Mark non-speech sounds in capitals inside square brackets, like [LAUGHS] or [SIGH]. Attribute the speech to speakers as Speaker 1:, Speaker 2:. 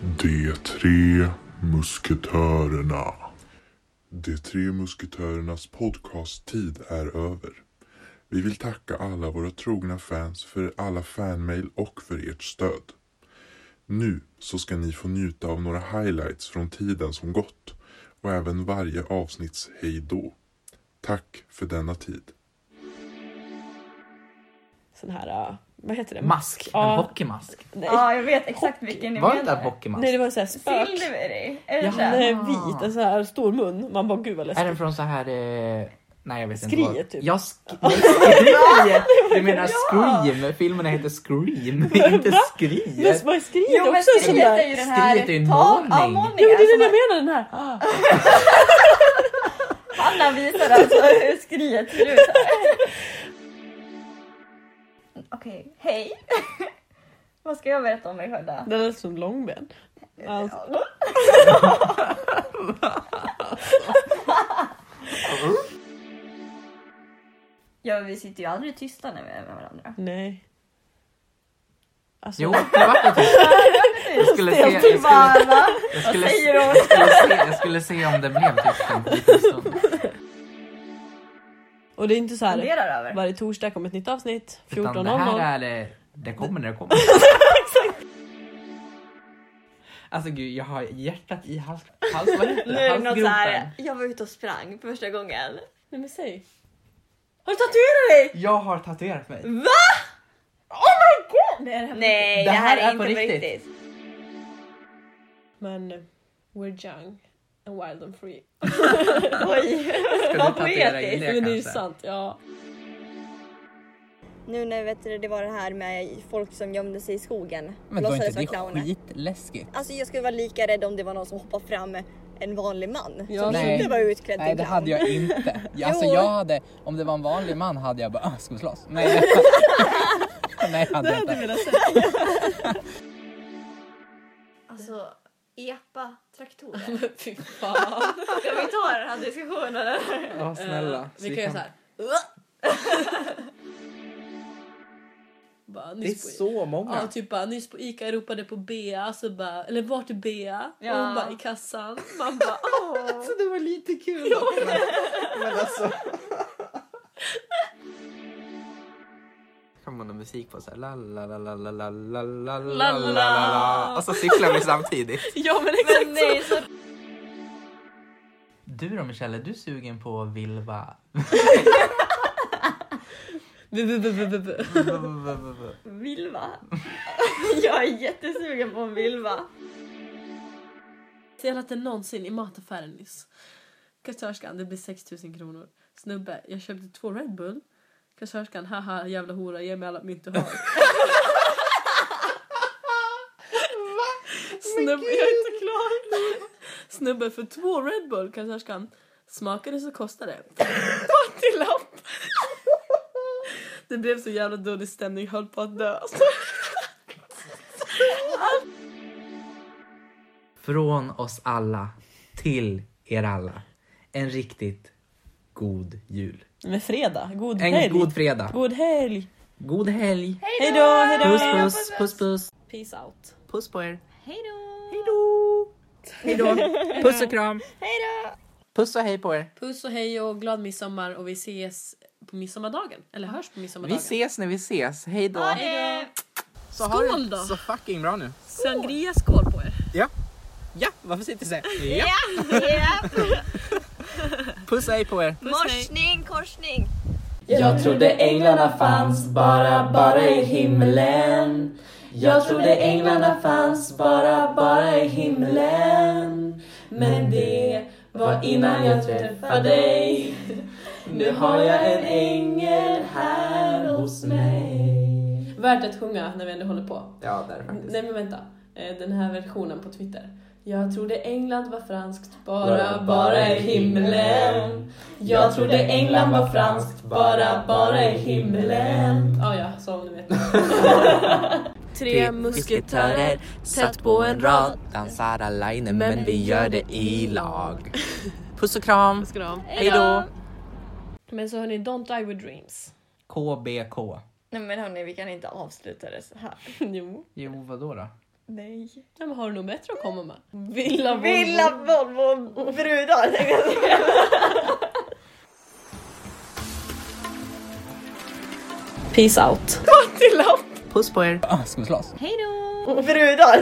Speaker 1: De tre musketörerna. De tre musketörernas podcasttid är över. Vi vill tacka alla våra trogna fans för alla fanmail och för ert stöd. Nu så ska ni få njuta av några highlights från tiden som gått och även varje avsnitts hejdå. Tack för denna tid.
Speaker 2: sån här, äh, vad heter det?
Speaker 3: Mask.
Speaker 2: Ja.
Speaker 3: En hockeymask.
Speaker 2: Nej.
Speaker 4: Ja, jag vet exakt vilken ni
Speaker 3: Var inte det en
Speaker 4: menar.
Speaker 3: hockeymask?
Speaker 2: Nej det var en sån här spök.
Speaker 4: Silvery? Är det
Speaker 3: Jaha.
Speaker 2: Den
Speaker 4: den?
Speaker 2: är vit, en sån här stor mun. Man bara gud vad
Speaker 3: Ah. Är
Speaker 2: läskigt.
Speaker 3: den från så här... Eh... Nej jag vet inte.
Speaker 2: Skriet, typ.
Speaker 3: Jag sk- Nej, [LAUGHS] skriet! Du menar Scream? Filmerna heter Scream, [LAUGHS] inte
Speaker 2: Va?
Speaker 3: Skriet.
Speaker 2: Men vad är skriet
Speaker 4: Jo men
Speaker 2: också? en sån
Speaker 4: skriet
Speaker 2: där...
Speaker 4: är ju den här...
Speaker 3: Skriet är ju en
Speaker 4: tal-
Speaker 3: målning.
Speaker 4: Ja, alltså,
Speaker 2: Jo men det är
Speaker 4: som
Speaker 2: den jag menar den här.
Speaker 4: Ah. Anna visar alltså hur skriet ser ut. [LAUGHS] Okej, hej! [LAUGHS] Vad ska jag berätta om mig själv då?
Speaker 2: Den är som långben. Alltså,
Speaker 4: Ja, vi sitter ju aldrig tysta när vi är med varandra.
Speaker 2: nej. Alltså,
Speaker 3: Jo, det vart det typ. Jag skulle se, jag skulle,
Speaker 4: Bara,
Speaker 3: jag
Speaker 4: vad
Speaker 3: skulle,
Speaker 4: säger
Speaker 3: jag
Speaker 4: du?
Speaker 3: skulle, se, jag skulle se om det blev typ en liten stund.
Speaker 2: Och det är inte så här.
Speaker 4: Funderar över.
Speaker 2: Varje torsdag kommer ett nytt avsnitt.
Speaker 3: Utan det här
Speaker 2: 14.00.
Speaker 3: är det, det kommer när det [LAUGHS] kommer. Alltså gud, jag har hjärtat i hals, hals, vad heter det? halsgropen.
Speaker 4: jag var ute och sprang för första gången.
Speaker 2: Nej men säg.
Speaker 4: Har du tatuerat dig?
Speaker 3: Jag har tatuerat mig.
Speaker 4: Nej, det här, är, inte på riktigt.
Speaker 2: Men eh, we're young and wild and free.
Speaker 4: Oj,
Speaker 3: Ska
Speaker 4: vad
Speaker 3: du tatuera Julia
Speaker 4: poetiskt.
Speaker 2: Men det är ju
Speaker 3: kanske?
Speaker 2: sant. Ja. [LAUGHS]
Speaker 5: Nu när vet du, det var det här med folk som gömde sig i skogen.
Speaker 6: Men var
Speaker 5: Låtsades
Speaker 6: inte det
Speaker 5: vara clowner.
Speaker 6: skitläskigt?
Speaker 5: Alltså jag skulle vara lika rädd om det var någon som hoppade fram en vanlig man.
Speaker 2: Ja,
Speaker 5: som
Speaker 6: nej.
Speaker 5: inte var utklädd
Speaker 6: Nej det
Speaker 5: [LAUGHS]
Speaker 6: hade jag inte.
Speaker 3: [LAUGHS]
Speaker 6: Jag- Alltså
Speaker 5: Jo.
Speaker 6: jag hade, om det var en vanlig man hade jag bara, "Ah, ska vi slåss?
Speaker 3: [LAUGHS]
Speaker 6: Nej, nej hade jag inte.
Speaker 4: Alltså, epa-traktorer.
Speaker 2: Men fy fan.
Speaker 4: Ska vi ta den här diskussionen?
Speaker 3: Ja, snälla.
Speaker 2: Vi kan göra såhär. [LAUGHS] Bara,
Speaker 3: Det är
Speaker 2: nyss på-
Speaker 3: så många.
Speaker 2: Ja, typ bara nyss på Ica jag ropade på Bea, så bara, eller vart är Bea?
Speaker 4: Ja.
Speaker 2: Och hon bara i kassan. Man bara, "Ah." åh!
Speaker 3: Alltså det var lite kul också. Men alltså. Kan man ha musik på så här la la la la la la la la la la la och så cyklar vi samtidigt.
Speaker 2: [LAUGHS] Ja men exakt
Speaker 4: Men nej, så...
Speaker 3: Du då Michelle, är du sugen på Vilva?
Speaker 2: Bu, bu, bu, bu, bu, bu.
Speaker 5: [LAUGHS]
Speaker 4: Vilva? Jag är jättesugen på en vilva.
Speaker 2: Senare än någonsin i mataffären nyss. Kassörskan, det blir 6000 kronor. Snubbe, jag köpte två Red Bull. Kassörskan, haha jävla hora, ge mig alla mynt du har. Snubbe, jag är inte klar. Snubbe, för två Red Bull, kassörskan. Smakade så kostade det. Fattiglapp! Det blev så jävla dålig stämning, höll på att dö.
Speaker 3: Från oss alla till er alla. En riktigt god jul.
Speaker 2: Men fredag, god
Speaker 3: En god fredag.
Speaker 2: God helg!
Speaker 3: God helg.
Speaker 2: Hejdå, hejdå!
Speaker 3: Puss puss puss puss.
Speaker 2: Peace out.
Speaker 3: Puss på er.
Speaker 4: Hej då!
Speaker 3: Hejdå. Puss och kram.
Speaker 5: Hejdå!
Speaker 3: Puss och hej på er.
Speaker 2: Puss och hej och glad midsommar och vi ses på midsommardagen. Eller hörs på
Speaker 3: Vi
Speaker 2: midsommardagen.
Speaker 3: ses när vi ses. Hej då. Så
Speaker 2: har Skål du- då. så
Speaker 6: Så fucking bra nu.
Speaker 2: Sangria skål på er.
Speaker 6: Ja, varför sitter du så? Ja. Puss och hej på er.
Speaker 5: [LAUGHS] Morsning, korsning!
Speaker 7: Jag trodde änglarna fanns bara, bara i himlen Jag trodde änglarna fanns bara, bara i himlen Men det var innan jag träffade dig Nu har jag en ängel här hos mig
Speaker 2: Värt att sjunga när vi ändå håller på.
Speaker 3: Ja, där faktiskt.
Speaker 2: Nej men vänta. Eh, Den här versionen på Twitter. Jag trodde England var franskt bara,
Speaker 7: Bara, bara i himlen Jag trodde England var franskt bara, bara i himlen
Speaker 2: Ah, ja, som
Speaker 7: [LAUGHS]
Speaker 2: ni vet. Tre
Speaker 7: Typ
Speaker 6: Tre
Speaker 2: musketörer
Speaker 6: satt på en rad, dansar alleine men vi gör det i lag. Puss och kram.
Speaker 2: ska du ha.
Speaker 6: Hej då.
Speaker 2: Men så hörni, don't die with dreams. [LAUGHS]
Speaker 3: KBK.
Speaker 4: Nej men hörni, vi kan inte avsluta det så här.
Speaker 2: jo.
Speaker 3: Jo, vadå då?
Speaker 4: Nej.
Speaker 2: Ja, men har du något bättre att komma med? Villa Volvo.
Speaker 4: Villa Volvo brudar tänkte jag säga.
Speaker 2: Peace out.
Speaker 6: Puss på er. Ah, ska vi slåss?
Speaker 4: Brudar.